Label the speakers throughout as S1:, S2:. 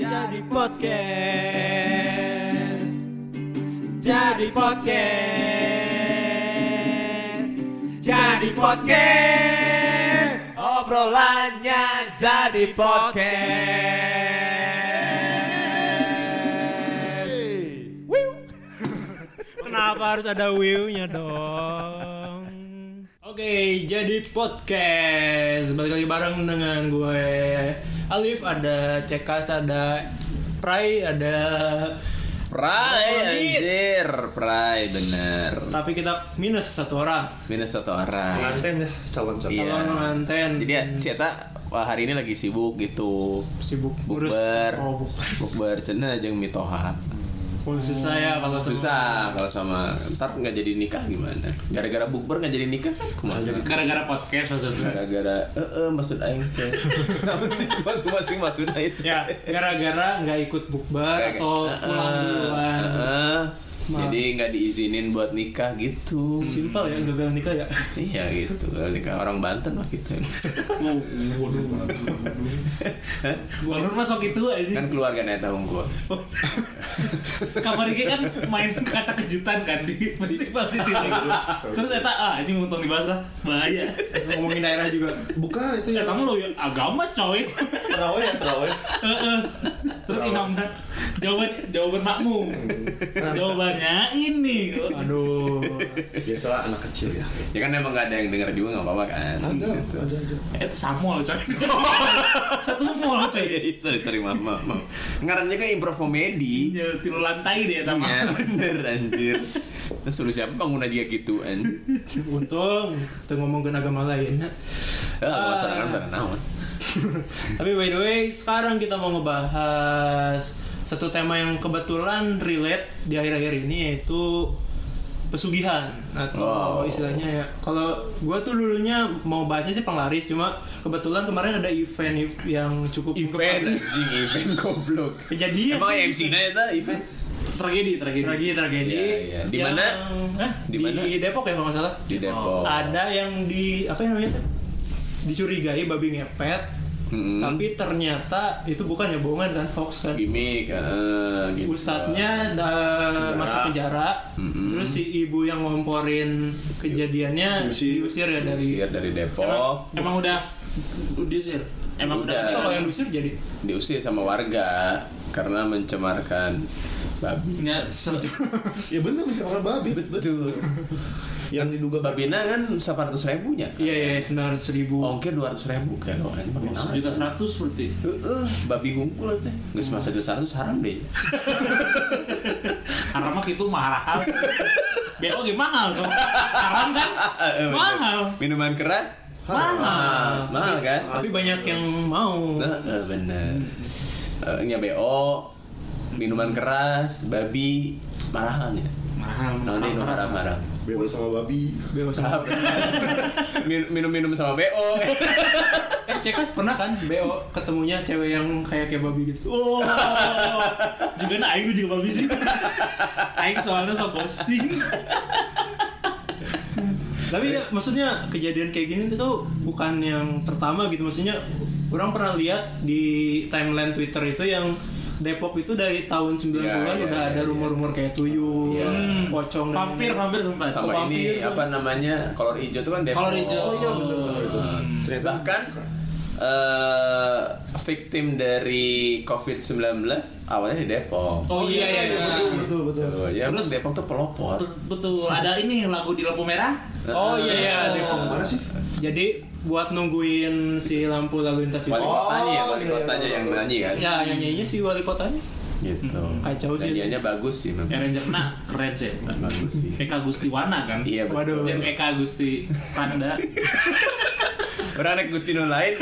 S1: Jadi podcast. Jadi podcast. Jadi podcast. Obrolannya jadi podcast. Kenapa harus ada wiu-nya dong? Oke, jadi podcast. Balik lagi bareng dengan gue Alif, ada Cekas, ada Prai, ada
S2: Prai
S1: Orang
S2: anjir, Prai bener.
S1: tapi kita minus satu orang.
S2: Minus satu orang.
S3: Pengantin ya calon calon.
S2: Iya.
S1: Calon manten.
S2: Jadi ya, si Eta wah, hari ini lagi sibuk gitu.
S1: sibuk ngurus
S2: Bukber.
S1: oh, bu-
S2: Bukber cenah jeung mitoha.
S1: Oh,
S2: Hmm,
S1: susah ya kalau sama-
S2: Susah kalau sama ntar nggak jadi nikah gimana? Gara-gara bukber nggak jadi nikah kan? Kumaha?
S4: gara-gara podcast maksudnya
S2: Gara-gara eh eh maksud aing teh. Naon sih masing-masing maksud aing teh?
S1: Ya, gara-gara nggak ikut bukber
S2: Gara-gara-
S1: atau pulang
S2: Eh, eh,
S1: duluan.
S2: eh, eh.
S1: Maaf.
S2: Jadi nggak diizinin buat nikah gitu.
S1: Simpel ya, nggak bilang nikah ya.
S2: Iya gitu, Kalau nikah orang Banten mah gitu
S4: Walur masuk itu aja
S2: Kan keluarga neta unggul
S1: Oh,
S4: Kamar ini kan main kata kejutan kan di masih pasti sini Terus eta ah anjing untung dibahas lah bahaya.
S1: Ngomongin daerah juga.
S3: Bukan itu
S4: Ya
S3: yang
S4: kamu lo ya agama coy.
S3: terawih ya terawih.
S4: Heeh. Terus imamnya jawaban jawaban makmum. Jawabannya ini.
S1: Aduh.
S3: Biasalah anak kecil ya.
S2: Ya kan emang gak ada yang denger juga gak apa-apa kan
S3: Ada
S2: Situ.
S3: ada ada.
S4: Itu samol coy. Satu mall coy.
S2: Iya, sorry, sorry, maaf, maaf, maaf Ngarannya kan improv komedi
S4: Ya, Tilu lantai dia sama.
S2: Iya, bener, anjir Terus suruh siapa pengguna dia gitu, Eh, gituan
S1: Untung, tuh ngomongin agama lain.
S2: Eh, aku serangan bener naon
S1: Ah. Tapi by the way, sekarang kita mau ngebahas satu tema yang kebetulan relate di akhir-akhir ini yaitu pesugihan atau
S2: Wow.
S1: istilahnya ya. Kalau gua tuh dulunya mau bahasnya sih penglaris, cuma kebetulan kemarin ada event yang cukup
S2: Event, anjing, event goblok
S1: kejadian
S2: Emang MC nya itu ya, event
S4: Tragedi tragedi.
S1: tragedi tragedi
S2: Iya, iya. Di
S1: yang-
S2: mana?
S1: Hah? di,
S2: Di mana?
S1: Depok ya kalau nggak salah
S2: Di Depok
S1: ada yang di apa namanya dicurigai babi ngepet
S2: Mm-mm.
S1: tapi ternyata itu bukan ya bohongan kan hoax kan
S2: Iya. Gimik, eh, gitu
S1: Ustadznya da- masuk penjara,
S2: Mm-hmm.
S1: terus si ibu yang ngomporin kejadiannya
S3: Diusir.
S1: diusir ya dari.
S2: Diusir dari Depok
S4: Emang udah diusir. Emang
S2: Oh. Udah.
S4: udah.
S1: Atau Oh, kalau yang diusir jadi
S2: Diusir sama warga Karena mencemarkan babi
S4: Ya, se-
S3: Ya benar mencerahkan babi.
S2: Betul.
S3: Yang diduga babi.
S2: Babina kan 100 ribunya kan?
S1: iya iya sembilan ratus ribu.
S2: Ongkir 200 ribu kan loh. Ini pakai naon?
S4: juta seratus berarti
S2: Heeh, babi hunkul teh. Geus masa 200 haram deh.
S4: haram mah gitu mahal mahal BO ge mahal so haram kan mahal
S2: Minuman keras?
S4: mahal
S2: Ah, mahal kan?
S1: Tapi banyak yang mau.
S2: Nah, eh, bener. Eh, nya BO minuman keras, babi marahan ya.
S4: mahal
S2: Nah, ini haram haram.
S3: Bebas sama babi.
S1: Bebas sama.
S2: Minum-minum sama BO.
S1: Eh Cekas pernah kan BO ketemunya cewek yang kayak kayak babi gitu.
S4: oh juga na aing juga babi sih aing soalnya so ghosting
S1: Tapi ya, maksudnya kejadian kayak gini tuh tuh bukan yang pertama gitu maksudnya orang pernah lihat di timeline Twitter itu yang Depok itu dari tahun 90-an
S2: Iya,
S1: udah
S2: iya,
S1: ada
S2: iya.
S1: rumor-rumor kayak tuyul,
S2: Iya.
S1: pocong dan
S4: vampir
S1: lain-lain.
S4: vampir sempat
S2: Sama ini
S1: Vampir.
S2: apa namanya? Kolor hijau itu kan Depok.
S4: kalau hijau
S3: Oh iya benar benar itu. Ternyata
S2: Bahkan eh victim dari COVID-19 awalnya di Depok.
S4: oh iya iya iya.
S3: betul betul betul.
S2: Tuh, ya terus Depok tuh pelopor.
S4: Bet- betul ada ini lagu di lampu merah
S1: Oh iya iya Depok.
S3: Mana sih?
S1: Jadi buat nungguin si lampu lalu lintas itu.
S2: Wali kotanya ya, wali
S3: iya,
S2: kotanya
S3: iya.
S2: yang nyanyi kan.
S1: Ya yang nyanyinya si wali kotanya.
S2: Gitu.
S1: Kacau sih.
S2: Nyanyiannya bagus sih memang.
S4: Eren Jernak keren sih
S2: Bagus sih.
S4: Eka Gustiwana kan
S2: Iya,
S1: Waduh.
S2: betul.
S4: Dan Eka Gusti Panda
S2: Beranek Gustino lain.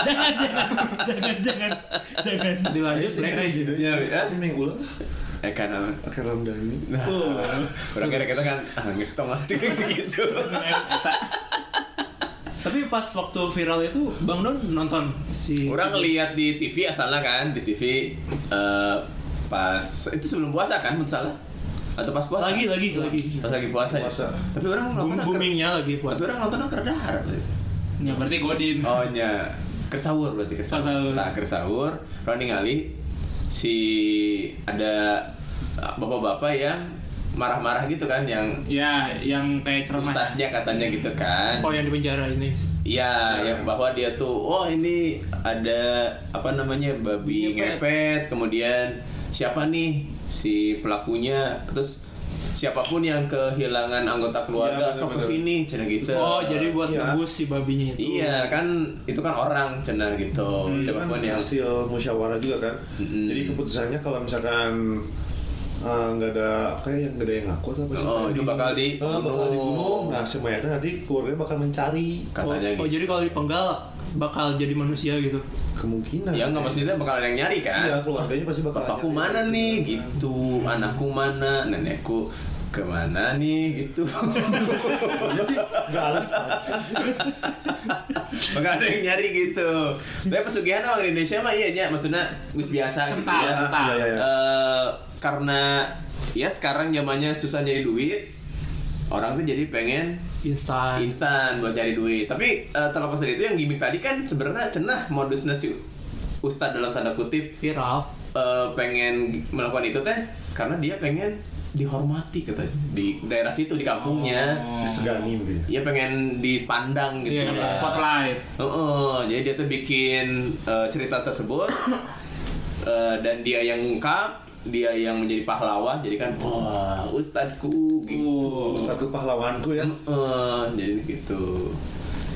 S4: jangan jangan jangan jangan jangan
S1: Dilanjut Black
S2: Iya, ya.
S3: Ini yang ulang.
S2: Eh kan nama.
S3: Pakai ramdhani.
S2: Orang kira kita kan ah ngestong lah gitu.
S1: Tapi pas waktu viral itu Bang Don nonton si
S2: Orang lihat di TV asalnya kan, di TV eh, pas itu sebelum puasa kan, salah atau pas puasa?
S1: lagi lagi lagi
S2: pas lagi puasa, ya?
S3: Puasa.
S2: tapi orang
S1: Boom,
S2: nonton
S1: boomingnya lagi
S2: pas
S1: puasa.
S2: orang nonton aker dahar
S4: ya berarti Godin
S2: oh nya kersahur berarti
S4: Kersahur.
S2: kersahur. Nah, kersahur, running ali si ada uh, bapak-bapak yang marah-marah gitu kan yang
S4: Ya, yang kayak ceramah.
S2: ustadznya katanya gitu kan.
S1: Oh yang di penjara ini. Nah.
S2: Iya, yang bahwa dia tuh, oh ini ada apa namanya babi
S1: Ngepet.
S2: ngepet. kemudian siapa nih si pelakunya, terus siapapun yang kehilangan anggota keluarga,
S3: Iya,
S2: sok
S3: bener-bener.
S2: kesini, cina gitu.
S1: Oh jadi buat
S3: Iya.
S1: nembus si babinya itu.
S2: Iya kan, itu kan orang cina gitu,
S1: Hmm,
S3: Itu kan
S2: siapapun yang
S3: hasil musyawarah juga kan.
S2: Mm-mm.
S3: Jadi keputusannya kalau misalkan eh, nggak ada kayak yang nggak ada yang ngaku atau apa sih?
S2: Oh,
S3: Kayak
S2: itu
S3: di-
S2: bakal
S3: Eh, bakal
S2: dibunuh.
S3: dibunuh. Nah, semuanya nanti keluarganya bakal mencari
S1: Oh,
S2: katanya
S1: oh,
S2: gitu.
S1: jadi kalau dipenggal bakal jadi manusia gitu.
S3: kemungkinan.
S2: Ya nggak maksudnya bakal ada yang nyari kan?
S3: Iya, keluarganya pasti bakal
S2: Bapakku
S3: nyari.
S2: mana nih gitu, anakku mana, nenekku kemana nih gitu.
S3: Iya sih, nggak alas
S2: Maka ada yang nyari gitu. Tapi pesugihan orang Indonesia mah iya ya, maksudnya wis biasa gitu
S4: Kental,
S2: ya.
S4: kental.
S3: Iya, iya, iya.
S2: Eh, karena ya sekarang zamannya susah nyari duit, orang tuh jadi pengen
S4: Ah.
S1: Instan.
S2: instan buat nyari duit. Tapi eh, terlepas dari itu yang gimmick tadi kan sebenarnya cenah modusnya si Ustadz dalam tanda kutip
S1: Viral.
S2: eh, pengen melakukan itu teh karena dia pengen dihormati katanya di daerah situ di kampungnya.
S4: Oh.
S3: Disegani mungkin.
S2: Dia pengen dipandang gitu
S1: Iya,
S2: lah.
S4: Spotlight.
S2: Oh, jadi dia tuh bikin eh, cerita tersebut eh, dan dia yang ngungkap, dia yang menjadi pahlawan, jadi kan wah ustadku gitu.
S4: Oh.
S3: Ustadku pahlawanku ya.
S2: Eh, jadi gitu.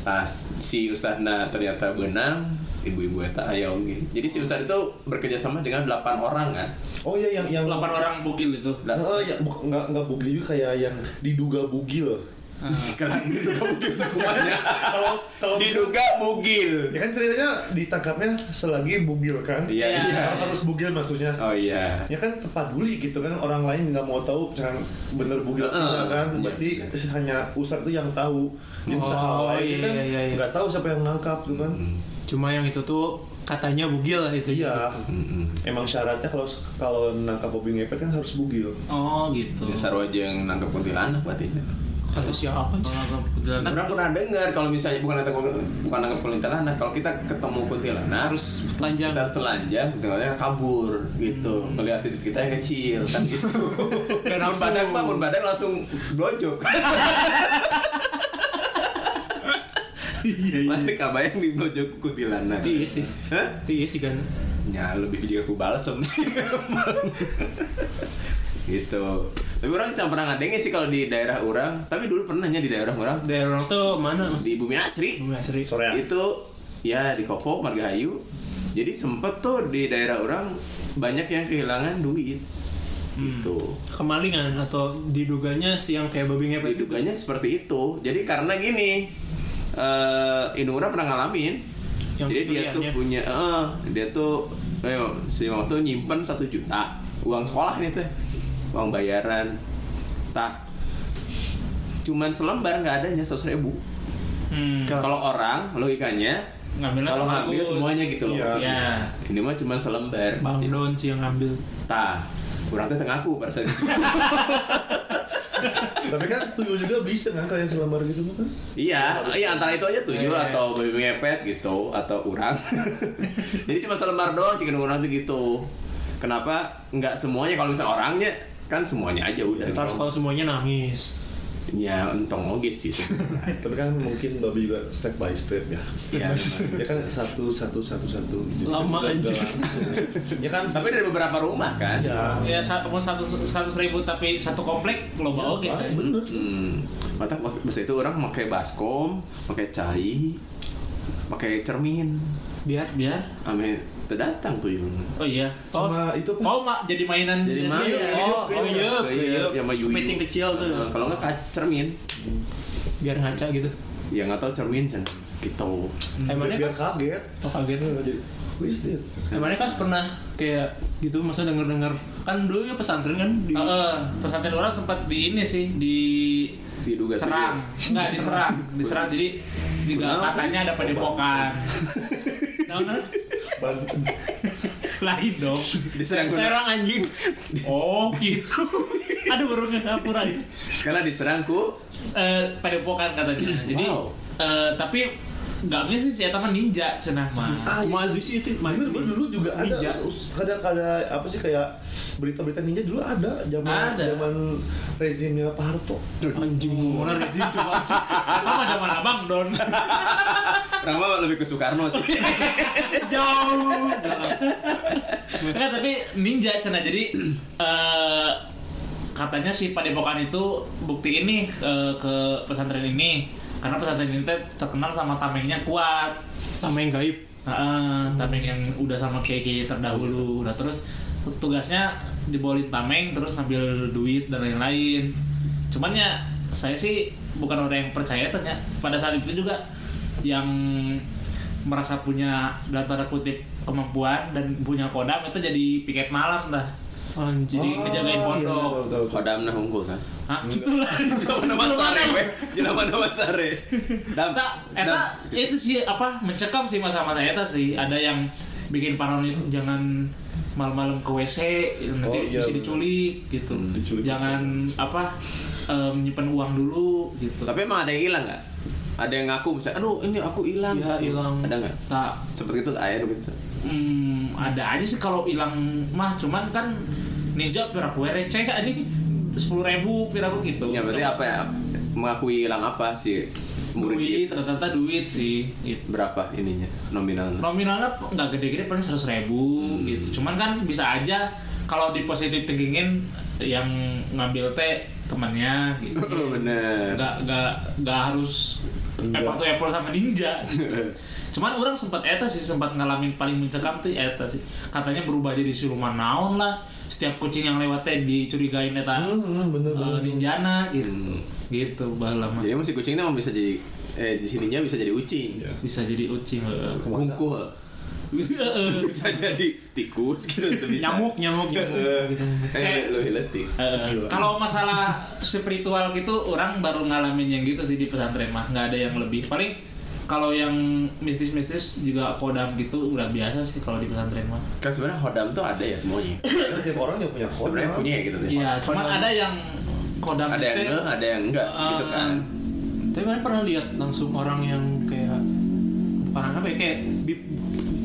S2: Nah, si ustadna ternyata benang, ibu-ibu eta hayang gitu. Jadi si ustad itu bekerja sama dengan 8 orang kan.
S3: Oh iya yang yang
S4: Delapan orang bugil itu.
S2: Lah,
S3: Oh ya, bu- nggak nggak bugil juga kayak yang diduga bugil.
S4: Hmm.
S2: sekarang diduga bugil hukumannya.
S3: Kalau kalau
S2: Iya. Diduga bugil.
S3: ya kan ceritanya ditangkapnya selagi bugil kan?
S2: Iya,
S4: Iya.
S2: iya.
S3: Kalau harus bugil maksudnya.
S2: Oh iya.
S3: Ya kan peduli gitu kan orang lain nggak mau tahu misalkan bener bugil atau
S2: Heeh.
S3: enggak kan
S2: Iya,
S3: berarti
S2: iya.
S3: hanya ustadz tuh yang tahu yang
S1: Oh,
S3: usaha lain
S1: iya,
S3: kan
S1: iya, iya.
S3: nggak tahu siapa yang nangkap tuh kan
S1: Cuma yang itu tuh katanya bugil lah itu.
S3: iya
S2: Hmm,
S3: emang syaratnya kalau kalau nangkap babi ngepet kan harus bugil
S4: Oh, gitu.
S2: Dasar wajeng nangkep kuntilanak berarti.
S1: Kata siapa?
S4: Orang orang kuntilanak.
S2: Orang pernah dengar kalau misalnya bukan nangkep bukan nangkep kuntilanak, kalau kita ketemu kuntilanak harus
S1: Harus telanjang.
S2: kita harus telanjang, kuntilanaknya kabur gitu. Melihat titik kita yang kecil kan gitu.
S1: Dan
S2: Dan
S1: langsung-
S2: badan bangun badan langsung blonjok.
S4: Iya, iya.
S2: Mana kabayang di blonjok kuntilanak.
S1: Iya sih.
S2: Hah?
S1: Iya sih kan.
S2: Ya lebih juga aku balsem sih. gitu. Tapi orang cuma pernah ngadenge sih kalau di daerah orang. Tapi dulu pernahnya di daerah orang
S1: Daerah orang tuh mana mas?
S2: di Bumi Asri.
S1: Bumi Asri.
S3: sore ya
S2: itu ya di Kopo Margahayu jadi sempet tuh di daerah orang banyak yang kehilangan duit
S1: Hmm.
S2: gitu
S1: Kemalingan atau diduganya si yang kayak babi ngepet itu.
S2: diduganya seperti itu jadi karena gini eh Inura pernah ngalamin
S1: Yang
S2: jadi dia tuh
S1: kecuriannya.
S2: punya eh, dia tuh eh, si mama tuh nyimpen satu juta uang sekolah nih teh uang bayaran tak cuman selembar nggak adanya seratus ribu
S4: Hmm.
S1: Iya.
S2: kalau orang logikanya
S4: Ngambilnya
S2: kalau
S4: sama
S2: ngambil
S4: Agus.
S2: semuanya gitu loh
S3: Iya.
S4: Iya.
S2: ini mah cuma selembar
S1: Bang Don sih yang ngambil.
S2: tah kurang teh tengah aku pada saat itu
S3: tapi kan tuyul juga bisa kan kayak selamar gitu kan
S2: iya iya antara itu aja tujuh
S4: Iya.
S2: atau babi ngepet gitu atau urang jadi cuma selembar doang cikin urang tuh gitu kenapa nggak semuanya kalau misalnya orangnya kan semuanya aja udah
S1: Terus kalau semuanya nangis.
S2: ya untung oge sih sebenarnya.
S3: tapi kan mungkin babi juga step by step ya
S1: Step
S2: Iya,
S1: by step.
S3: ya kan satu satu satu satu Jadi
S1: Lama,
S3: kan udah-
S1: anjir.
S3: udah langsung. ya kan
S2: tapi dari beberapa rumah kan
S3: ya
S4: Ya, satu satu seratus ribu tapi satu komplek
S2: Iya,
S4: gitu. lomba oke.
S3: Ah,
S4: coy.
S3: bener
S2: Hmm, mata pas itu orang pakai baskom, pakai cai, pakai cermin,
S1: Biar
S4: Biar.
S2: ame terdatang tuh yang.
S4: Oh iya.
S3: sama itu kan
S4: Oh, mak jadi mainan.
S2: Jadi mah
S3: Iya,
S1: Oh, oh iya, iya,
S2: yang sama Yuyu.
S1: Kepiting kecil tuh.
S2: Nah, kalau nggak ka- cermin,
S1: biar ngaca gitu.
S2: ya nggak tahu cermin kan gitu.
S1: Emangnya
S3: Hmm, biar
S1: kas,
S3: kaget
S1: oh, kaget.
S3: Nah, jadi who is this
S1: Emangnya kas pernah kayak gitu, masa denger dengar kan dulu ya pesantren kan di
S4: Eh, eh, pesantren orang sempat di ini sih di
S2: Diduga
S4: serang, enggak diserang, diserang jadi juga
S2: Kenapa?
S4: katanya ada padepokan. Tahu kan?
S3: Banten
S4: Lain dong.
S2: Diserang
S1: Serang anjing.
S4: Oh gitu. Aduh baru ngapur aja.
S2: Karena diserangku
S4: Eh, padepokan katanya. Jadi
S2: Wow.
S4: eh, tapi nggak bisa sih eta mah ninja cenah mah.
S3: Ah,
S1: Cuma di situ mah
S3: Bener, bener, dulu juga ada
S1: Ninja.
S3: ada ada apa sih kayak berita-berita ninja dulu ada zaman
S4: Ada.
S3: zaman rezimnya Pak Harto
S1: Anjing mana rezim coba.
S4: Apa ada mana Bang Don?
S2: Rama lebih ke Soekarno sih.
S1: Jauh.
S4: Nah, tapi ninja cenah jadi eh katanya si Padepokan itu bukti ini eh, ke pesantren ini karena pesantren ini teh terkenal sama tamengnya kuat.
S1: Sama yang gaib.
S4: Heeh, tameng yang udah sama kiai-kiai terdahulu. Nah, terus tugasnya jebolin tameng terus ngambil duit dan lain-lain. Cuman ya saya sih bukan orang yang percaya ternyata pada saat itu juga yang merasa punya dalam tanda kutip kemampuan dan punya kodam itu jadi piket malam dah.
S1: Anjing.
S4: Jadi
S3: Oh,
S4: ngejagain pondok.
S3: iya, tahu, tahu, tahu.
S2: Kodam nah unggul kan.
S4: Hah, gitu lah.
S2: Jaman nama sare, we. Jaman nama sare. Dam.
S4: Eta, eta
S2: dam.
S4: itu sih apa mencekam sih masa-masa eta sih ada yang bikin paranoid jangan malam-malam ke WC nanti
S3: Oh, iya,
S4: bisa
S3: bener.
S4: diculik gitu.
S2: Hmm,
S3: diculik.
S4: jangan apa eh, menyimpan uang dulu gitu.
S2: Tapi emang ada yang hilang nggak? Ada yang ngaku misalnya, aduh ini aku hilang. Gitu.
S1: Ya, hilang.
S2: Ada nggak?
S4: Iya, tak
S2: Seperti itu air gitu.
S4: hmm, ada aja sih kalau hilang mah cuman kan ninja pira kue receh aja sepuluh ribu pira kue gitu.
S2: Ya berarti apa ya? Mengakui hilang apa sih? Murid
S4: Duit ternyata duit sih gitu.
S2: berapa ininya nominalnya?
S4: nominalnya nggak gede-gede paling seratus ribu
S2: Hmm.
S4: gitu cuman kan bisa aja kalau di positif thinkingin yang ngambil teh temannya gitu
S2: Oh, Bener.
S4: nggak nggak nggak harus
S3: Ninja.
S4: apple to apple sama ninja gitu. cuman orang sempat eta sih sempat ngalamin paling mencekam tuh eta sih katanya berubah jadi siluman naon lah setiap kucing yang lewat teh dicurigain eta
S3: Hmm, hmm, bener,
S4: eh,
S3: bener.
S4: ninjana gitu
S2: Hmm. Ya.
S4: gitu balama
S2: Jadi musik kucing itu emang bisa jadi eh di sininya bisa jadi ucing.
S3: Iya.
S4: bisa jadi ucing heeh.
S3: Kemana?
S2: Bungkuh.
S4: Heeh.
S2: Bisa jadi tikus gitu itu bisa.
S1: Nyamuk, nyamuk, nyamuk. Gitu.
S2: Eh, lo hilati.
S4: Eh, kalau masalah spiritual gitu orang baru ngalamin yang gitu sih di pesantren mah nggak ada yang lebih paling kalau yang mistis-mistis juga kodam gitu udah biasa sih kalau di pesantren mah
S2: Kan sebenarnya hodam tuh ada ya semuanya.
S3: tiap orang yang punya kodam
S2: Sebenarnya punya ya gitu tuh.
S4: iya cuman ada yang kodam
S2: Ada yang
S4: itu
S2: enggak, ada yang enggak
S4: Ah.
S2: gitu kan.
S1: Tapi mana pernah lihat langsung orang yang kayak bukan apa ya kayak bip,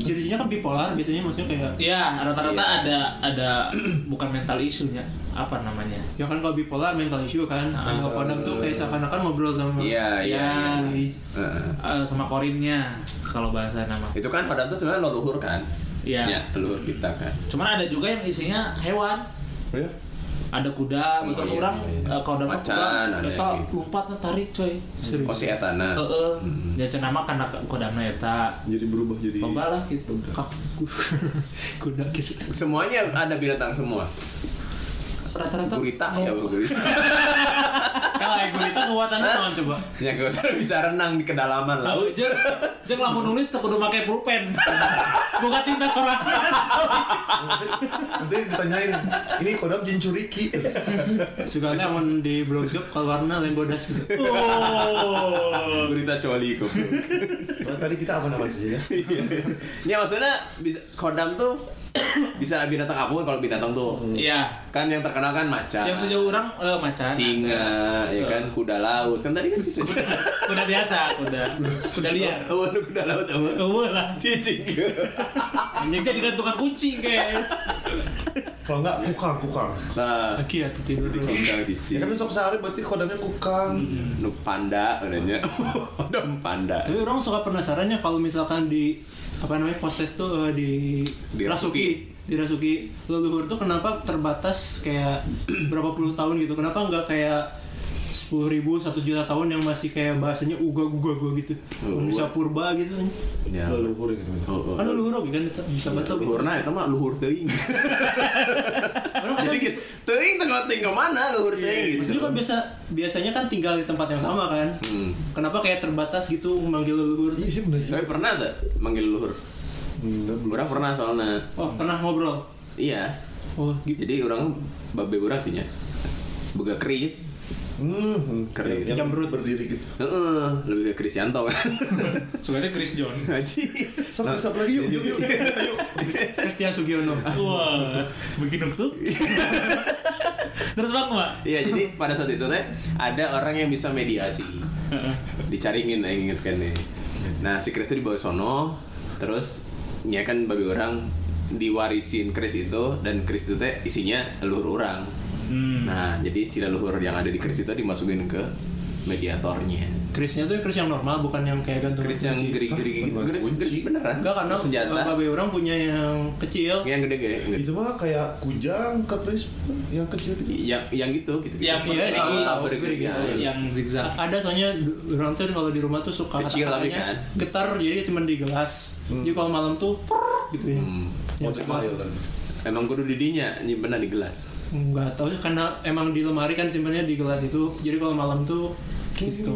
S1: ciri-cirinya kan bipolar biasanya maksudnya kayak
S4: Iya, rata-rata
S2: Iya.
S4: ada ada bukan mental isunya apa namanya
S1: ya kan kalau bipolar mental issue kan
S4: Ah.
S1: kalau kodam tuh kayak seakan-akan ngobrol sama Ya,
S2: Iya, iya.
S4: Iya.
S1: si-
S2: Heeh.
S4: Eh, sama korinnya kalau bahasa nama
S2: Itu kan hodam tuh sebenarnya leluhur kan.
S4: Iya.
S2: Ya, leluhur kita kan.
S4: cuman ada juga yang isinya hewan
S3: Oh ya?
S4: ada kuda
S2: Oh,
S4: betul
S2: iya,
S4: orang
S2: iya.
S4: eh, kodam mah kuda
S2: Macan, ada
S4: eta
S2: yang gitu.
S4: lompat tarik coy
S1: serius
S2: Oh si Etana.
S4: Heeh, ya cenah mah kana kodamna eta.
S3: jadi berubah jadi
S4: Loba lah gitu. Kak,
S1: kuda gitu
S2: Semuanya ada binatang semua.
S4: Rata-rata
S2: Gurita ya, Bu,
S4: Oh.
S2: gurita.
S1: kalau ego itu Kan kekuatannya tangan coba
S2: ya gue bisa renang di kedalaman
S4: Tahu
S2: laut.
S4: jeung jeung lamun nulis teu kudu make pulpen. Buka tinta sorangan.
S3: nanti ditanyain ini kodam jincuriki
S1: Sukanya amun di blog job kalau warna lain bodas gitu.
S4: Oh.
S2: Gurita coli kok.
S3: Nah, tadi kita apa namanya sih ya
S2: ya maksudnya bisa, kodam tuh bisa binatang apapun kalau binatang tuh
S4: Iya,
S2: kan yang terkenal kan macan.
S4: yang sejauh orang eh, macan.
S2: singa, ya kan kuda laut kan tadi kan gitu.
S4: Kuda biasa, kuda. Kuda liar.
S2: Oh, lu kuda laut apa?
S4: Eueuh lah.
S2: Cicing.
S4: Anjing jadi gantungan kunci kayak.
S3: kalau enggak kukang kukang
S2: Nah,
S1: Lagi ya tuh tidur dulu.
S2: kondang
S3: ya
S2: cicing.
S3: kan besok sehari berarti kodamnya kukang
S2: Nu panda adanya. Kodam panda.
S1: Tapi orang suka penasarannya kalau misalkan di apa namanya proses tuh eh, di dirasuki,
S2: Dirasuki.
S1: dirasuki leluhur tuh kenapa terbatas kayak berapa puluh tahun gitu? Kenapa nggak kayak sepuluh ribu satu juta tahun yang masih kayak bahasanya uga guga gua gitu
S2: Oh,
S1: manusia purba gitu
S2: Ya.
S3: leluhur gitu
S2: Oh, oh.
S1: kan leluhur oge kan itu bisa batal gitu
S2: Luhurna itu mah luhur teuing. Jadi gitu, teuing tengok tinggal mana luhur teuing
S1: kan maksudnya
S2: gitu.
S1: kan biasa biasanya kan tinggal di tempat yang sama kan
S2: Hmm.
S1: kenapa kayak terbatas gitu manggil leluhur
S3: iya sih bener
S2: Tapi pernah tak manggil luhur?
S3: Bener, belum.
S2: Orang pernah soalnya.
S1: oh pernah ngobrol
S2: Iya.
S1: oh gitu
S2: Jadi orang babe orang sih nya. Bega keris.
S3: hmm
S2: Keren.
S3: yang jamrut berdiri gitu
S2: Heeh, lebih ke Krisyanto kan.
S4: Sebenarnya Chris John.
S2: Haji.
S3: Sap, sap lagi yuk, yuk, yuk, Bisa, yuk.
S1: Christian Sugiono
S4: Wah, begini tuh. Terus Bang, Mbak.
S2: Iya, jadi pada saat itu teh ada orang yang bisa mediasi. Dicariin yang inget kan eh, nih. Nah si Chris itu dibawa sono Terus ya kan babi orang diwarisin Chris itu dan Chris itu teh isinya leluhur orang.
S4: Hmm.
S2: Nah jadi si leluhur yang ada di Chris itu dimasukin ke mediatornya.
S1: Krisnya tuh Kris yang normal bukan yang kayak gantung
S2: Chris yang
S1: kunci.
S2: geri-geri gitu.
S3: Hah?
S2: Chris,
S3: Kunci?
S2: Chris beneran.
S1: Enggak karena
S2: senjata. Iya.
S1: babe orang punya yang kecil.
S2: Yang gede-gede.
S3: itu mah kayak kujang ke Chris yang kecil itu
S2: Yang yang gitu gitu.
S4: Yang-
S1: iya, yang
S2: yang
S1: tahu,
S2: gede-gede.
S1: gede-gede.
S4: Ya, Yang zigzag.
S1: A- Ada soalnya du- orang tuh kalau di rumah tuh suka
S2: Kecil tapi
S1: kata-katanya
S2: kan.
S1: getar jadi cuma di gelas. Jadi kalau malam tuh prrrr gitu ya.
S2: Hmm.
S1: Yang
S3: Motif
S1: gelas.
S3: Island.
S2: Emang kudu didinya nyimpen di gelas.
S1: Enggak tahu sih, karena emang di lemari kan simpannya di gelas itu. Jadi kalau malam tuh gitu.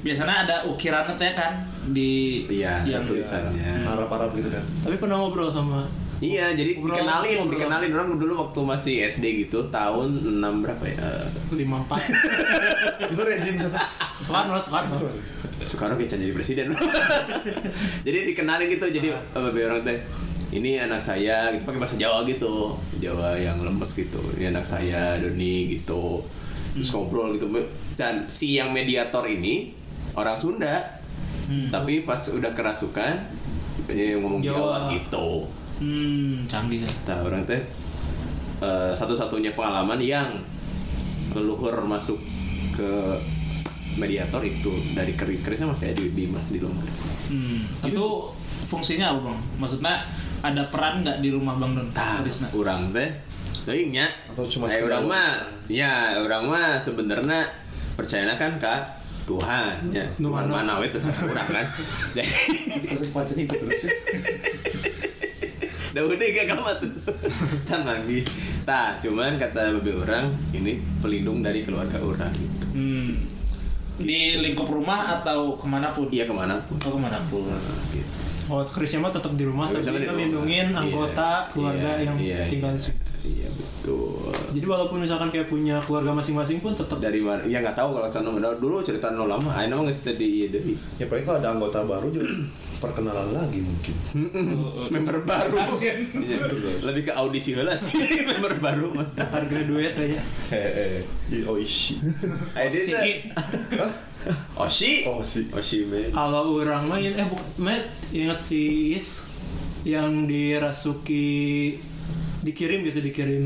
S4: Biasanya ada ukirannya teh kan di
S2: Iya, ada
S4: yang
S2: tulisannya.
S3: Harap-harap gitu kan
S1: Tapi pernah ngobrol sama
S2: Iya, jadi
S1: Ngobrol,
S2: dikenalin,
S1: ngobrol.
S2: dikenalin orang dulu waktu masih SD gitu, tahun 6 berapa ya? Eh,
S1: 54.
S3: Itu rezim siapa?
S1: Soekarno,
S3: Ah.
S1: Soekarno.
S2: Soekarno kayak jadi presiden. jadi dikenalin gitu, jadi babe orang teh ini anak saya gitu pakai bahasa Jawa gitu Jawa yang lemes gitu ini anak saya Doni gitu terus ngobrol gitu dan si yang mediator ini orang Sunda
S4: Hmm.
S2: tapi pas udah kerasukan dia ngomong
S1: Jawa.
S2: Jawa gitu
S4: Hmm, canggih.
S2: Nah, orang teh eh, satu-satunya pengalaman yang leluhur masuk ke mediator itu dari keris kerisnya masih ada di di, di lemari.
S4: Hmm. itu fungsinya apa, Bang? Maksudnya ada peran nggak di rumah Bang Don?
S2: Tah,
S4: Krisna?
S2: orang teh teuing nya.
S3: Atau cuma
S2: Eh,
S3: sekedar
S2: orang mah
S3: urusan.
S2: ya orang mah sebenarnya percaya kan ka Tuhan ya.
S1: Nu
S2: Tuhan
S1: mana?
S2: mana we terserah urang kan. Jadi
S3: Terus pacarnya ikut terus ya
S2: dah udah gak kamat tuh. Tan mandi. Tah, cuman kata beberapa orang ini pelindung dari keluarga orang gitu.
S4: Hmm. Di lingkup rumah atau kemanapun?
S2: Iya kemana pun. gitu.
S4: Atau kemanapun?
S1: Oh, Krisnya mah tetap di rumah
S2: Bisa
S1: tapi
S2: di rumah.
S1: ngelindungin
S2: Iya,
S1: anggota keluarga
S2: iya,
S1: yang
S2: iya,
S1: tinggal di situ.
S2: Iya betul.
S1: Jadi walaupun misalkan kayak punya keluarga masing-masing pun tetap
S2: Dari mana? Ya nggak tahu kalau sana udah dulu cerita no lama. Ayo nggak steady ya dari
S3: Ya paling kalau ada anggota baru juga perkenalan lagi mungkin
S2: Hmm.
S4: Oh,
S2: member baru.
S4: Kasian.
S2: Iya, Lebih ke audisi lah sih member baru. mah.
S1: daftar graduate aja.
S3: Hehehe Di Oishi
S2: Ayo dia
S4: Oshi.
S2: teh. Oshi.
S3: Oishi
S2: Oshi men.
S1: Kalau orang mah eh buk, met, ingat si Is yang dirasuki dikirim gitu dikirim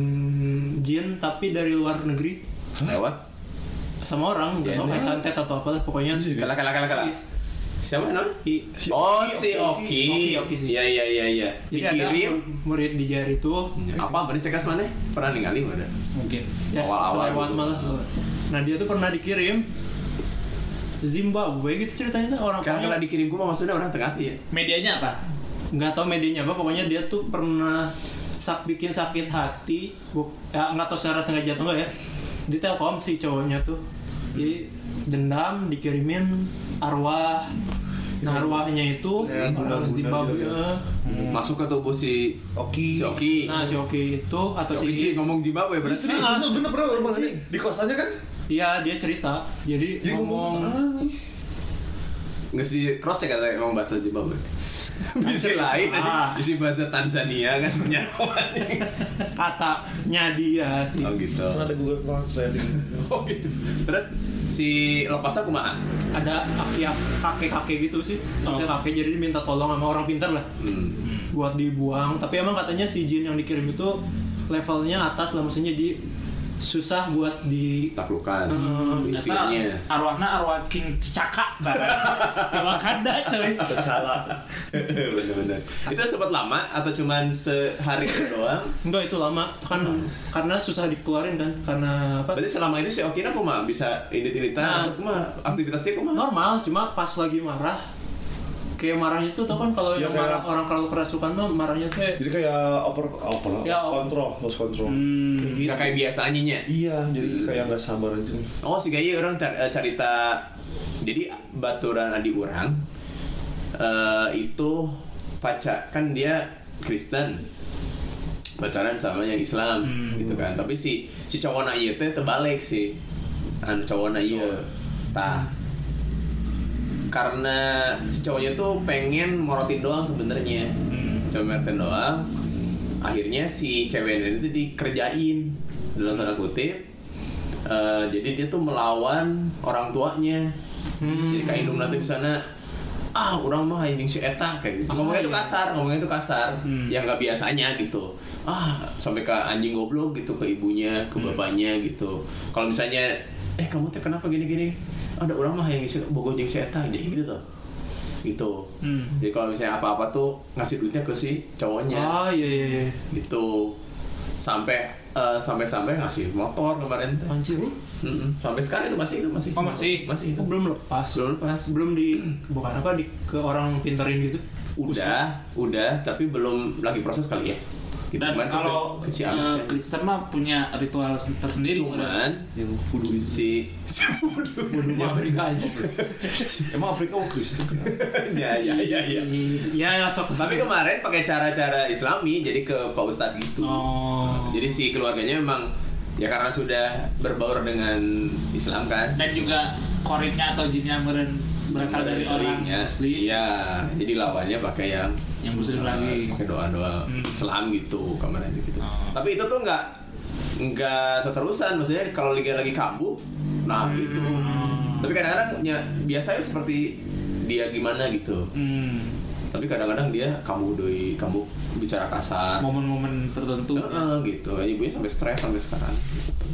S1: jin tapi dari luar negeri
S2: Lewat.
S1: sama orang nggak
S2: Ya,
S1: tahu kayak
S2: enak.
S1: santet atau apalah pokoknya
S2: Kalah kalah kalah kalah.
S1: Is.
S2: Siapa nama?
S1: I-
S3: Si
S2: oh
S3: Oki,
S2: si Oki.
S1: Oki, Oki sih.
S2: Iya iya iya iya.
S1: jadi ada
S2: Dikirim.
S1: murid di jari itu
S2: Apa berarti sekas mana? Pernah ningali mana?
S4: Mungkin.
S1: ya
S2: Awal-awal
S1: selewat
S2: gitu.
S1: malah nah dia tuh pernah dikirim Zimbabwe gitu ceritanya tuh orang
S2: Karena kalau dikirim gua maksudnya orang tengah hati ya.
S4: Medianya apa?
S1: nggak tahu medianya apa pokoknya dia tuh pernah sak bikin sakit hati buk, ya, nggak tahu secara sengaja atau enggak ya di telkom si cowoknya tuh jadi dendam dikirimin arwah nah arwahnya itu orang
S3: Ya, Iya. guna-guna
S1: Zimbabwe
S3: gitu
S1: eh.
S2: Masuk ke tubuh si si
S3: Oki
S2: Oki.
S1: nah si Oki itu atau si
S2: Oki
S1: Is.
S2: ngomong
S3: Iya.
S2: Zimbabwe berarti.
S3: Bener bener bener bener bener. Di kosannya kan
S1: iya dia cerita jadi
S3: Dia ngomong
S1: ngomong
S3: "Ah, nih."
S2: Nggak di cross ya kata emang bahasa Zimbabwe. Bisa lain,
S1: Ah.
S2: bisa bahasa Tanzania kan punya namanya.
S1: katanya dia sih
S2: Oh gitu.
S3: Kan ada Google Translate
S2: Oh gitu. Terus si lepasnya kumaha?
S1: ada kakek kakek gitu sih
S4: Oh.
S1: kakek kakek jadi minta tolong sama orang pintar lah
S2: Hmm.
S1: buat dibuang tapi emang katanya si jin yang dikirim itu levelnya atas lah maksudnya di susah buat di
S2: Taklukan.
S1: Hmm,
S4: Ternyata
S2: Usianya.
S4: arwahna arwah King Caka barang. Di Wakanda coy.
S3: Ah, Tercala
S2: Bener-bener. Itu sempat lama atau cuman sehari itu doang?
S1: enggak itu lama kan karena susah dikeluarin kan karena apa
S2: Berarti selama itu si Okina kumaha bisa indit-inditan
S1: Nah.
S2: atau kumaha aktivitasnya kumaha?
S1: normal cuma pas lagi marah kayak marahnya tuh tau kan kalau
S3: Ya,
S1: yang
S3: kayak-
S1: marah orang kalau kerasukan mah marahnya tuh kayak
S3: Jadi kayak over over
S1: Ya,
S3: lost
S1: o-
S3: control lost control
S4: Hmm.
S2: Nggak kayak biasanya nya.
S3: Iya jadi kayak nggak sabar aja
S2: Oh sih kayaknya orang car- eh, carita jadi baturan adi orang eh, itu pacar kan dia Kristen pacaran sama yang Islam gitu kan tapi si si cowok ieu teh terbalik sih anu cowok ieu tah karena si cowoknya tuh pengen morotin doang sebenarnya
S4: hmm,
S2: cuma morotin doang akhirnya si ceweknya itu dikerjain dalam tanda kutip Eh, jadi dia tuh melawan orang tuanya jadi kayak indung nanti misalnya ah orang mah anjing si eta kayak gitu. ngomongnya itu kasar ngomongnya itu kasar yang nggak biasanya gitu ah sampai ke anjing goblok gitu ke ibunya ke bapaknya gitu kalau misalnya eh kamu teh kenapa gini gini ada orang mah yang isi bogo jeung si eta jadi gitu tuh gitu
S4: Hmm.
S2: jadi kalau misalnya apa-apa tuh ngasih duitnya ke si cowoknya
S1: Ah
S4: Oh.
S1: iya iya iya.
S2: gitu sampai eh, sampai-sampai ngasih motor kemarin teh.
S1: Anjir.
S2: Mm-mm. sampai sekarang itu masih itu masih
S4: Oh, masih?
S2: masih itu
S1: Oh, belum lepas.
S2: Belum lepas.
S1: Belum di bukan apa di ke orang pinterin gitu.
S2: udah udah tapi belum lagi proses kali ya Gitu,
S4: Dan
S2: kemarin tuh
S4: kalau
S2: ke- ke Ciamis,
S4: eh,
S2: Ciamis.
S4: Kristen mah punya ritual sen- tersendiri udah.
S2: cuman
S3: yang voodoo itu
S2: si si
S1: Waduh, di Afrika aja.
S3: emang Afrika kan? mau Kristen
S2: ya ya ya ya
S1: Iya, ya, sok.
S2: tapi kemarin pakai cara-cara Islami jadi ke Pak Ustadz gitu
S4: Oh.
S2: jadi si keluarganya memang ya karena sudah berbaur dengan Islam kan
S4: Dan juga korinnya atau jinnya meren berasal dari orang
S2: ya
S4: asli
S2: Iya, jadi lawannya pakai yang
S4: yang
S2: eh,
S4: muslim lagi.
S2: pakai doa-doa
S4: Hmm.
S2: Islam gitu kamarnya gitu. gitu.
S4: Oh.
S2: Tapi itu tuh nggak nggak terusan maksudnya kalau liga lagi kambuh,
S4: Hmm.
S2: nah gitu. Tapi kadang-kadang ya, biasanya seperti dia gimana gitu.
S4: Hmm.
S2: Tapi kadang-kadang dia kambuh doi, kambuh bicara kasar.
S4: Momen-momen tertentu.
S2: Heeh, gitu. Ibunya sampai stres sampai sekarang. Gitu.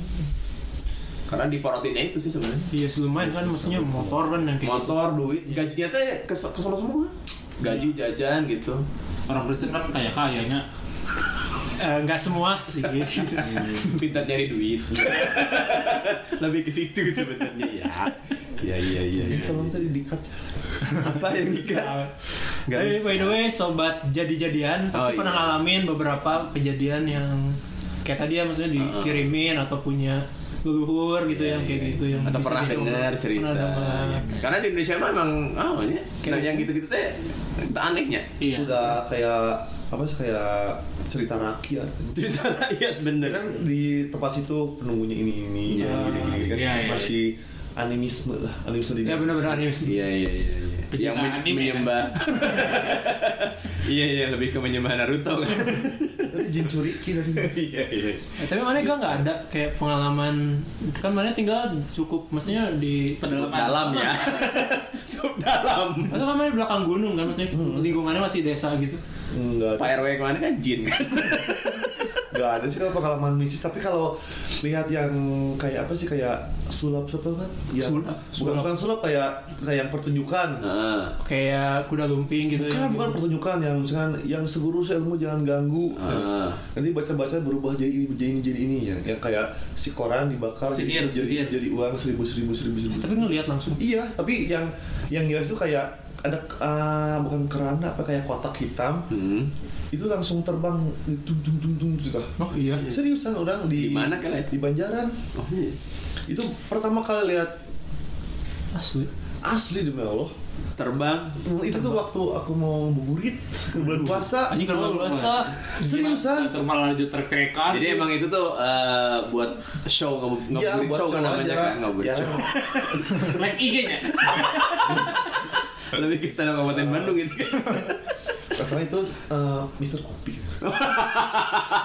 S2: Karena diporotinnya itu sih sebenarnya.
S1: Iya, yes, lumayan kan maksudnya motor kan yang kayak
S2: motor duit gajinya teh kes kesana semua gaji jajan gitu
S4: Orang Kristen kan kaya kayanya.
S1: Eh, nggak semua sih.
S2: pintar nyari duit Hmm. lebih ke situ sebenarnya ya ya iya iya iya
S3: tolong tadi dikat ya
S2: apa yang nikah Nggak
S1: Tapi
S2: bisa.
S1: by the way, sobat jadi-jadian
S2: Oh,
S1: pasti pernah
S2: iya.
S1: ngalamin beberapa kejadian yang kayak tadi ya maksudnya dikirimin atau punya leluhur gitu yang kayak gitu yang
S2: Iya, atau
S1: bisa
S2: pernah
S1: dicoba.
S2: dengar cerita iya, kan.
S1: Pernah dengar.
S2: karena di Indonesia mah emang ah oh, ya nah, yang gitu-gitu teh tak anehnya
S4: Iya.
S3: udah kayak apa sih kayak cerita rakyat
S2: cerita rakyat
S3: Dia
S2: bener
S3: kan di tempat situ penunggunya ini ini
S2: Iya,
S3: ini, ini, ini, kan
S4: iya, iya.
S3: masih animisme lah animisme di
S1: Ya benar-benar animisme.
S2: iya iya iya iya. yang men-
S4: Pecinta anime,
S2: menyembah iya iya lebih ke menyembah Naruto kan
S3: tadi Jin Curiki tadi
S2: iya iya
S1: Eh, tapi mana gak nggak ada kayak pengalaman kan mana tinggal cukup maksudnya di
S2: Cukup
S4: Pedalaman.
S2: dalam ya cukup dalam
S1: atau kan mana di belakang gunung kan maksudnya lingkungannya masih desa gitu.
S3: enggak ada
S2: Pak RW kemana kan jin kan
S3: enggak ada sih kalau pengalaman mistis tapi kalau lihat yang kayak apa sih kayak sulap sulap kan yang,
S2: Sulap? Nah,
S3: bukan
S1: Sulap.
S3: bukan sulap kayak kayak yang pertunjukan
S2: Heeh.
S1: Kayak kuda lumping gitu
S3: bukan
S1: yang-
S3: bukan pertunjukan yang misalkan yang seguru ilmu jangan ganggu
S2: Heeh.
S3: nanti baca-baca berubah jadi ini jadi ini jadi ini yang, yang kayak si koran dibakar
S4: Sihir,
S3: jadi, jadi,
S4: sihir.
S3: jadi uang seribu seribu seribu seribu
S1: gitu. tapi ngelihat langsung
S3: iya tapi yang yang jelas itu kayak ada ah, bukan keranda apa kayak kotak hitam
S2: Hmm.
S3: itu langsung terbang tung tung tung tung gitu
S1: oh iya
S3: seriusan orang di
S2: Di mana kalian?
S3: di Banjaran
S2: Oh, iya.
S3: itu pertama kali lihat
S1: asli
S3: asli demi Allah
S2: terbang
S3: Hmm, itu tuh waktu aku mau buburit ke bulan puasa kan?
S1: anjing kalau
S4: Oh,
S1: basah
S3: seriusan
S4: Atau malah jadi
S1: Ah.
S4: terkerekan.
S2: jadi emang itu tuh eh, buat show nggak nggak
S3: Iya,
S2: buat
S3: buat
S2: show kan
S3: show
S2: namanya
S3: aja.
S2: kan nggak buat
S3: Iya.
S2: show
S4: live IG-nya.
S2: lebih ke stand up kabupaten
S3: Iya.
S2: Bandung gitu kan
S3: Rasanya itu eh, Mr. Kopi.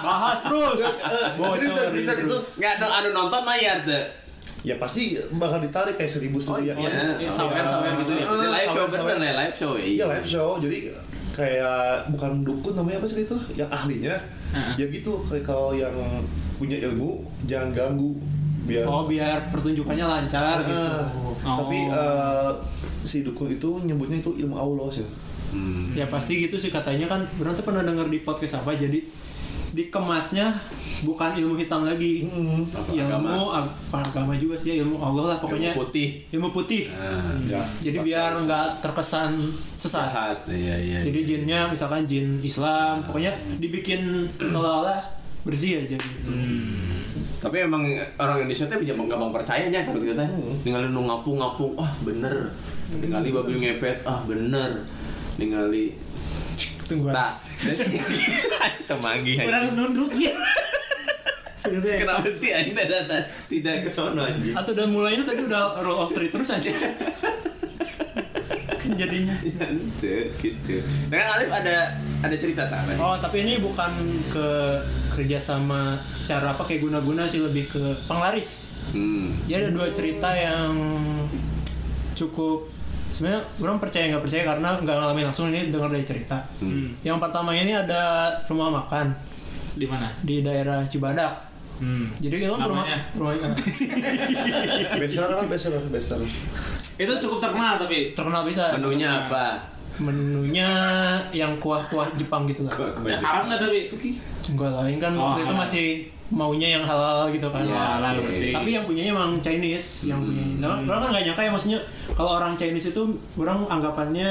S1: bahas terus gitu.
S3: Seriusan, seriusan, itu
S2: nggak ada ada nonton mayar tuh
S3: ya pasti bakal ditarik kayak seribu ya
S2: oh
S3: kan? seribu
S2: iya
S3: yang
S1: iya, sawer, sawer gitu ya.
S2: Jadi
S3: Ah,
S2: live show
S3: sawer,
S2: bener
S3: sawer.
S2: lah live show ya
S3: Iya live show, jadi kayak bukan dukun namanya apa sih itu? Yang ahlinya,
S4: Heeh.
S3: ya gitu. Kayak kalau yang punya ilmu jangan ganggu biar.
S1: oh biar pertunjukannya lancar
S3: Ah,
S1: gitu
S3: Tapi
S4: Oh.
S3: eh, si dukun itu nyebutnya itu ilmu Allah sih.
S2: Hmm.
S1: ya pasti gitu sih katanya kan berarti pernah dengar di podcast apa jadi dikemasnya bukan ilmu hitam lagi
S3: Hmm.
S2: Apa,
S1: ilmu
S2: agama?
S1: ag- bukan agama juga sih ya, ilmu Allah lah pokoknya
S2: Ilmu putih
S1: ilmu putih
S2: Nah,
S3: Ya.
S1: jadi biar nggak terkesan sesat
S2: sehat iya iya
S1: jadi
S2: iya.
S1: jinnya misalkan jin Islam pokoknya dibikin seolah-olah bersih aja gitu
S2: Tapi emang orang Indonesia tuh gampang gampang percayanya kalau gitu teh.
S4: Hmm.
S2: Ningali nu ngapung-ngapung, ah bener. Ningali babi ngepet, ah bener. Ningali
S1: tunggu
S2: Nah,
S1: aja.
S2: temanggi
S4: Kurang
S2: aja.
S4: nunduk ya. Sudah.
S2: Kenapa sih anjing tidak tidak ke sono anjing?
S1: atau udah mulainya tadi udah roll of three terus aja kan jadinya
S2: Ya, ente, gitu. Dengan Alif ada ada cerita tak? Alif?
S1: oh tapi ini bukan ke kerjasama secara apa kayak guna-guna sih lebih ke penglaris
S2: Hmm.
S1: ya ada dua cerita yang cukup sebenarnya orang percaya nggak percaya karena nggak ngalamin langsung ini dengar dari cerita
S4: Hmm.
S1: yang pertama ini ada rumah makan
S4: Di mana?
S1: di daerah Cibadak
S4: Hmm.
S1: jadi kan rumah
S4: Namanya?
S1: rumah eh,
S3: Besar kan besar besar.
S4: Itu cukup terkenal tapi
S1: terkenal bisa
S2: Menunya apa?
S1: menunya yang kuah-kuah Jepang gitu lah
S2: Gua- gua-
S4: haram nggak tapi Suki?
S1: enggak lah ini kan
S4: Oh,
S1: waktu itu
S4: halal.
S1: masih maunya yang halal gitu kan
S2: Iya.
S4: Wah,
S2: oke.
S4: lalu berarti.
S1: tapi yang punyanya emang Chinese yang punya orang, orang kan nggak nyangka ya maksudnya kalau orang Chinese itu orang anggapannya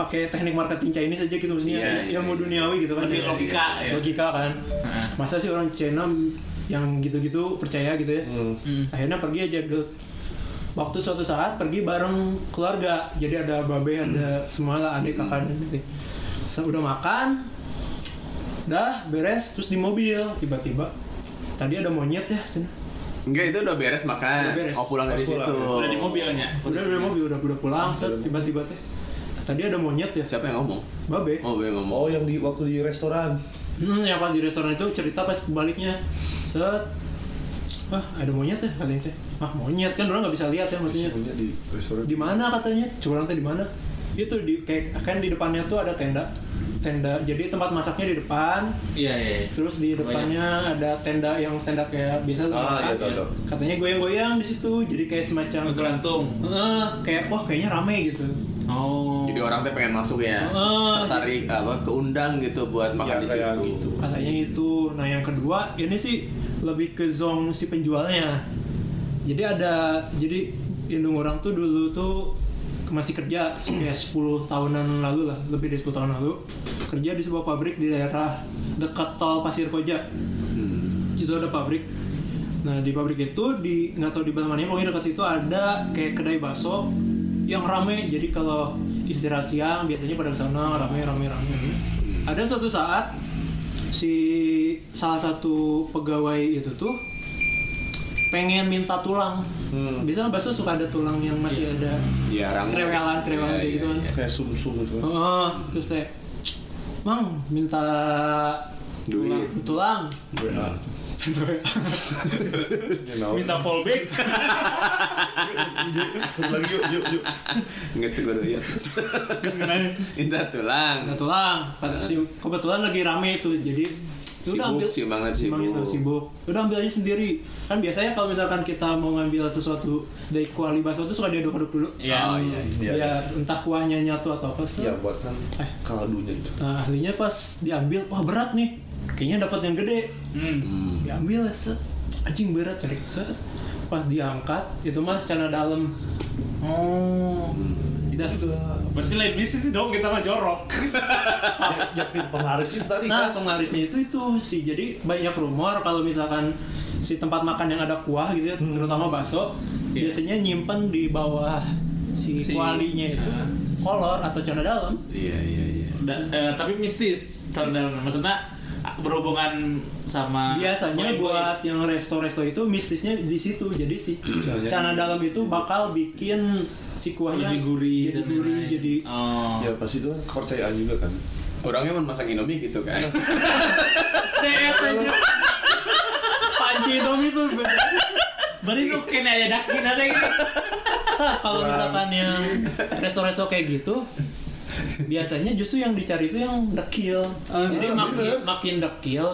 S1: pakai teknik marketing Chinese aja gitu maksudnya
S2: Iya,
S1: kayak
S2: iya,
S1: ilmu
S2: iya.
S1: duniawi gitu kan
S4: lebih
S1: Kayak
S4: logika ya.
S1: logika kan
S4: Heeh.
S1: masa sih orang China yang gitu-gitu percaya gitu ya
S3: Hmm.
S4: Hmm.
S1: akhirnya pergi aja dulu waktu suatu saat pergi bareng keluarga jadi ada babe
S4: Hmm.
S1: ada semua lah adik kakak dan adik. Se- udah makan dah beres terus di mobil tiba-tiba tadi ada monyet ya Cen.
S2: Enggak itu udah beres makan.
S1: Udah beres.
S2: Oh pulang dari
S3: Pas pulang.
S2: situ.
S4: Udah di mobilnya. Hmm.
S1: udah udah mobil udah udah pulang set tiba-tiba teh tadi ada monyet ya
S2: Siapa yang ngomong?
S1: babe
S2: Oh, gue ngomong.
S3: Oh yang di waktu di restoran.
S1: hmm, yang pas di restoran itu cerita pas baliknya set ah ada monyet ya katanya teh ah monyet kan orang nggak bisa lihat ya maksudnya
S3: Punya di restoran.
S1: di mana katanya coba nanti di mana itu di kayak kan di depannya tuh ada tenda tenda jadi tempat masaknya di depan
S4: Iya iya. iya.
S1: terus di depannya ada tenda yang tenda kayak biasa tuh
S3: Ah
S1: makan.
S3: iya tahu tahu.
S1: katanya goyang-goyang di situ jadi kayak semacam
S4: Ngegelantung.
S1: Heeh, kayak wah kayaknya rame gitu
S4: Oh.
S2: Jadi orang teh pengen masuk ya.
S1: Oh,
S2: Tertarik apa keundang gitu buat makan
S3: Ya,
S2: di
S3: kayak
S2: situ.
S3: gitu.
S1: katanya itu nah yang kedua ini sih lebih ke zong si penjualnya jadi ada jadi indung orang tuh dulu tuh masih kerja kayak 10 tahunan lalu lah lebih dari 10 tahun lalu kerja di sebuah pabrik di daerah dekat tol Pasir Koja
S2: Hmm.
S1: itu ada pabrik nah di pabrik itu di nggak tahu di bawah mana pokoknya dekat situ ada kayak kedai bakso yang rame jadi kalau istirahat siang biasanya pada kesana rame rame rame ada suatu saat si salah satu pegawai itu tuh pengen minta tulang
S3: Hmm.
S1: biasanya kan bakso suka ada tulang yang masih ada
S2: Iya, orang. Iya,
S1: Kerewelan, kerewelan kayak gitu kan.
S3: Kayak sum sum gitu. kan.
S1: oh, terus saya mang minta
S2: Duit.
S1: tulang, tulang.
S3: WA. Ya, Iya, nah,
S4: fallback.
S3: lagi yuk yuk yuk.
S2: Enggak sih gue dulu ya. Minta
S1: Ada
S2: tulang.
S1: tulang. Kata si- kebetulan lagi rame itu jadi ya
S2: Iya. Sibuk sih banget
S1: Sibuk
S2: sibuk.
S1: itu, sibuk. Ya Udah ambil aja sendiri. Kan biasanya kalau misalkan kita mau ngambil sesuatu dari kuali bakso itu suka diaduk-aduk dulu.
S4: Iya.
S2: Oh iya. iya.
S3: Iya.
S1: Ya, entah kuahnya nyatu atau apa sih.
S3: Ya buat kan
S1: Eh.
S3: kaldunya itu.
S1: Nah, ahlinya pas diambil, wah berat nih. Kayaknya dapat yang gede.
S4: Hmm.
S1: Diambil ya, set. Anjing berat cari set. Pas diangkat, itu mah celana dalam.
S4: Oh.
S2: Hmm.
S1: Das.
S4: Berarti lain bisnis dong kita mah jorok.
S3: Jadi penglaris itu tadi
S1: Nah,
S3: kan.
S1: penglarisnya itu itu sih. Jadi banyak rumor kalau misalkan si tempat makan yang ada kuah gitu ya, terutama bakso,
S4: Hmm. Iya.
S1: biasanya nyimpen di bawah si,
S4: Si-
S1: kualinya itu
S4: Ah.
S1: kolor atau cana dalam.
S2: Iya iya iya.
S4: Da- eh, tapi mistis kalau dalam maksudnya berhubungan sama
S1: Biasanya
S4: Boy-boy.
S1: buat yang resto-resto itu mistisnya di situ. Jadi si cana dalam itu bakal bikin si kuahnya
S4: lebih gurih
S1: jadi
S4: dan
S1: gurih,
S4: lain-lain.
S1: jadi
S4: oh.
S3: Ya pasti itu kan kepercayaan juga kan.
S2: Orangnya mau masak Indomie gitu kan.
S1: Deet aja. Panci Indomie tuh bener.
S4: Berarti lu kena aja dakin ada gitu.
S1: Nah, kalau misalkan yang resto-resto kayak gitu biasanya justru yang dicari itu yang dekil
S4: Oh,
S1: jadi
S3: iya,
S1: mak-
S3: bener.
S1: makin dekil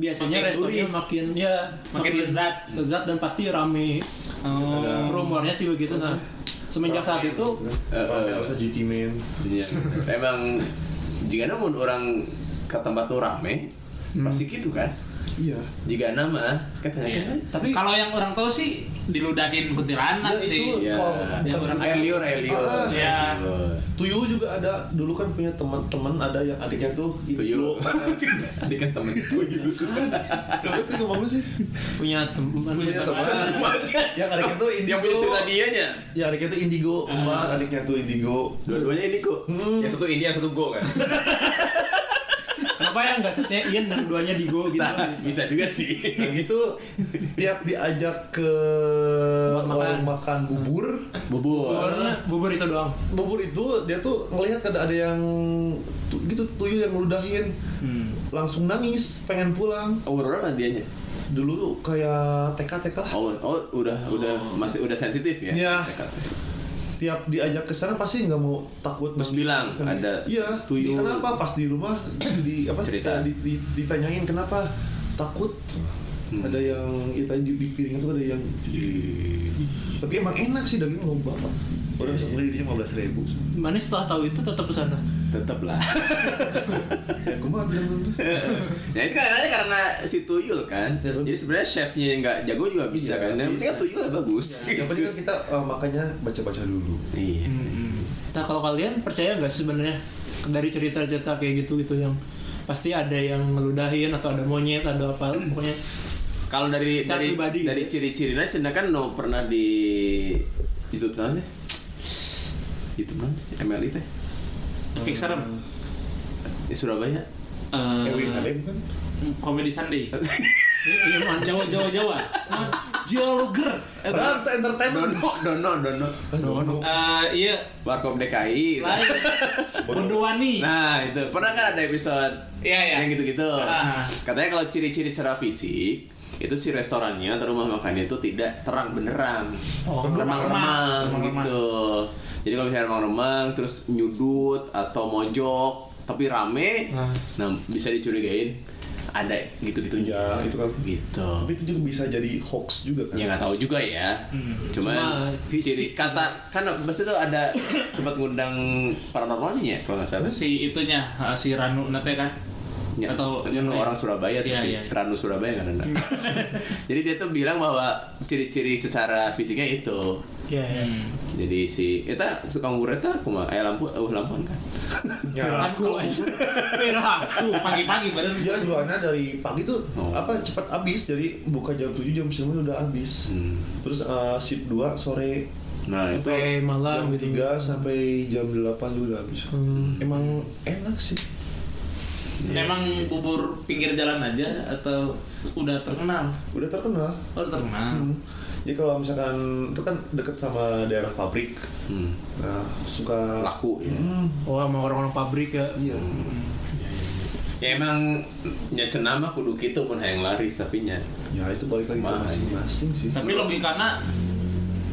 S1: biasanya
S4: Makin
S1: restonya
S4: gurih.
S1: makin ya
S4: Makin lezat.
S1: lezat dan pasti rame
S4: Oh.
S1: rumornya sih begitu nah semenjak saat itu
S3: Kan,
S2: Eh, eh.
S3: Pamer usah GT man.
S2: Iya. Emang jika namun orang ke tempat tuh rame, pasti gitu kan.
S3: Iya.
S2: Jika nama, katanya
S4: Iya.
S2: kan.
S1: tapi
S4: Kalau yang orang tahu sih diludahin
S3: Ya
S4: kuntilanak
S3: itu
S4: sih.
S2: Iya.
S3: kalau
S4: Yang
S3: bukan-
S4: orang
S2: Air liur, air liur.
S3: Ah,
S4: iya.
S2: Liur.
S3: Tuyul juga ada dulu kan punya teman-teman ada yang adiknya tuh
S2: Tuyul.
S3: Indo. Iya.
S2: Dia kan temen tuyul.
S3: Kan, Apa tuh ngomongnya sih?
S1: punya teman
S3: Punya teman. Yang adiknya tuh
S2: Yang
S3: indigo.
S2: punya cerita dianya.
S3: Yang adiknya tuh indigo, kembar
S1: Ah.
S3: adiknya tuh indigo.
S2: Dua-duanya ini kok.
S3: Hmm.
S2: Yang satu ini, yang satu go kan.
S1: kenapa yang nggak setnya Ian dan duanya di go gitu
S2: Nah, bisa juga sih.
S3: Yang itu tiap diajak ke
S1: Tempat makan.
S3: warung makan bubur,
S2: Bubur.
S1: Buburnya bubur itu doang
S3: bubur itu dia tuh ngelihat ada ada yang tu- gitu tuyul yang ngeludahin.
S1: Hmm.
S3: Langsung nangis, pengen pulang.
S2: Oh, berapa dianya?
S3: Dulu kayak TK-TK lah.
S2: Oh, oh, udah, udah masih udah sensitif ya.
S3: Iya.
S2: Tekad.
S3: tiap diajak ke sana pasti nggak mau takut
S2: Terus bilang, ada
S3: iya
S2: tuyul.
S3: kenapa pas di rumah di apa
S2: Cerita.
S3: di- di- ditanyain kenapa takut ada yang ya, tadi di piring itu ada yang tapi emang enak sih daging lomba Iya. orang sekali dia lima belas ribu
S1: Mana setelah tahu itu tetap ke sana.
S2: tetap lah
S3: ya gue mah bilang gitu.
S2: nah itu kan karena, karena si tuyul kan
S3: Ya,
S2: jadi sebenarnya chefnya yang nggak jago juga bisa kan
S3: Iya,
S2: yang penting kan
S3: bisa.
S2: tuyul bagus
S3: yang penting kan kita Hmm, eh, makanya baca baca dulu
S2: iya
S1: Nah kalau kalian percaya nggak sih sebenarnya dari cerita-cerita kayak gitu gitu yang pasti ada yang ngeludahin atau ada monyet ada apa pokoknya
S2: kalau dari
S1: Secara
S2: dari
S1: pribadi gitu
S2: dari
S1: ya?
S2: ciri-cirinya Cina kan no pernah di YouTube mana deh? YouTube mana sih? MLI teh
S4: Fixer
S2: di Surabaya
S4: eh,
S3: Ewing ada bukan
S4: Comedy Sunday Iya, man, Jawa Jawa Jawa Geologer
S3: Eh, Rans Entertainment
S2: Dono Dono Dono
S3: Dono
S4: Eh, Iya
S2: Warkop DKI gitu.
S4: lain Bondowani
S2: Nah itu pernah kan ada episode
S4: Iya, iya.
S2: yang gitu-gitu.
S4: Ah.
S2: Katanya kalau ciri-ciri secara fisik itu si restorannya atau rumah makannya itu tidak terang benerang,
S4: Oh,
S2: remang-remang
S4: remang-remang.
S2: gitu. Jadi kalau misalnya remang-remang terus nyudut atau mojok tapi rame,
S4: Ah.
S2: nah bisa dicurigain ada gitu-gitu
S3: Ya, itu kan.
S2: gitu.
S3: tapi itu juga bisa jadi hoax juga kan
S2: Ya nggak tahu juga ya.
S4: Hmm,
S2: Cuman
S1: Cuma fisik.
S2: ciri kata kan pas itu ada sempat ngundang paranormalnya ya kalau nggak salah.
S4: si itunya eh, si Ranu nate kan
S2: Ya,
S4: atau
S2: ini orang Surabaya
S4: Iya,
S2: tapi
S4: iya.
S2: Ranu Surabaya kan Ranu. Jadi dia tuh bilang bahwa ciri-ciri secara fisiknya itu.
S1: ya ya
S4: Hmm.
S2: Jadi si eta tukang urut eta kumaha aya eh, lampu eueuh lampu kan.
S3: ya,
S4: Kan kalau-
S1: aja peraku
S4: pagi-pagi badan
S3: dia Iya, jualannya dari pagi tuh
S2: Oh.
S3: apa cepat habis jadi buka jam 7 jam 9 udah habis
S2: Hmm.
S3: terus eh, shift 2 sore
S2: Nah, itu
S1: sampai
S3: jam
S1: malam gitu
S3: 3 sampai jam 8 juga udah habis
S1: Hmm.
S3: emang enak sih
S4: emang bubur pinggir jalan aja atau udah terkenal
S3: udah terkenal
S4: oh, udah terkenal
S3: Hmm. jadi kalau misalkan itu kan deket sama daerah pabrik
S2: hmm,
S3: nah suka
S2: laku Hmm. ya.
S3: Hmm,
S1: oh sama orang-orang pabrik ya
S3: iya
S2: Ya emang nya cenah mah kudu kitu pun hayang laris tapi nya.
S3: ya itu balik lagi ke
S2: Mahal.
S3: masing-masing sih
S4: tapi logikana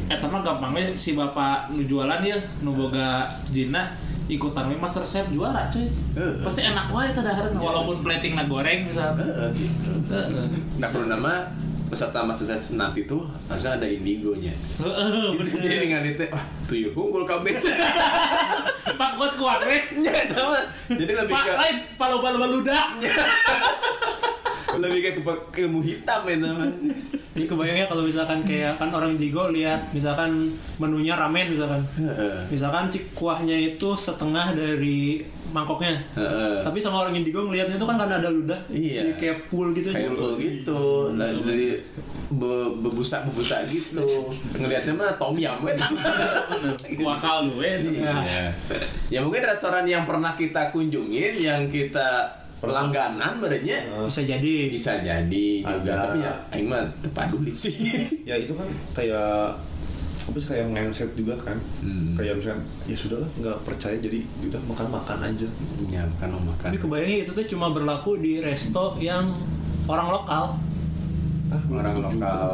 S4: eta mah gampangnya si bapak nu jualan ya nu boga jina ikutan we master chef juara cuy
S2: Heeh.
S4: pasti enak wae teh dahar walaupun plating na goreng misalnya Heeh.
S2: Nah, kalau nama peserta MasterChef nanti tuh harusnya ada indigonya. Itu
S4: Heeh, Oh, bener.
S2: jadi ngan itu ah tuyul unggul kabeh.
S4: pak kuat kuat we
S2: Ya, eta mah. Jadi lebih ke
S4: pak lain paloba-loba ludah
S2: lebih kayak kepa- ke ilmu hitam ya teman
S1: jadi kebayangnya kalau misalkan kayak kan orang jigo lihat misalkan menunya ramen misalkan
S2: Heeh.
S1: misalkan si kuahnya itu setengah dari mangkoknya
S2: Heeh.
S1: tapi sama orang indigo ngelihatnya itu kan karena ada ludah jadi
S2: Iya.
S1: kayak pool gitu
S2: kayak full gitu lah jadi be- bebusak bebusak gitu ngelihatnya mah tom yum ya teman.
S4: Bener, kuah kaldu we
S2: Iya. ya mungkin restoran yang pernah kita kunjungin yang kita langganan badannya
S3: Eh,
S1: bisa jadi
S2: bisa jadi juga
S3: Ada.
S2: tapi ya aing mah tepaduli sih
S3: ya itu kan kayak apa sih kayak mindset juga kan
S2: Hmm.
S3: kayak misalkan ya sudahlah nggak percaya jadi udah makan makan aja
S2: ya makan oh makan
S1: tapi kebayangnya itu tuh cuma berlaku di resto yang orang lokal
S3: ah belum
S2: orang
S3: tentu juga.
S2: lokal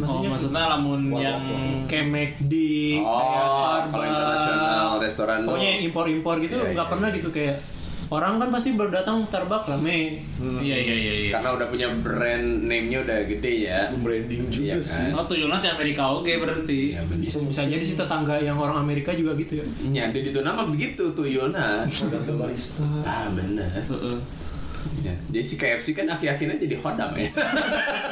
S1: maksudnya
S4: oh, maksudnya lamun
S3: Wah,
S4: yang
S3: wah,
S1: kayak McD kayak
S2: oh
S1: Starbucks
S2: kalau internasional restoran tuh-
S1: pokoknya impor-impor gitu
S2: Iya,
S1: nggak
S2: iya,
S1: pernah
S2: iya.
S1: gitu kayak orang kan pasti baru datang Starbucks rame
S4: iya iya iya iya
S2: karena udah punya brand name-nya udah gede ya
S3: Itu branding juga
S2: Iya
S3: sih
S4: oh tuyulnya di Amerika oke berarti
S2: ya bener
S1: bisa, bisa jadi sih tetangga yang orang Amerika juga gitu ya
S2: Ya, di itu nama begitu tuh Yona.
S3: ada barista
S2: ah bener.
S4: Heeh.
S2: Ya. Jadi si KFC kan akhir-akhirnya jadi hodam ya.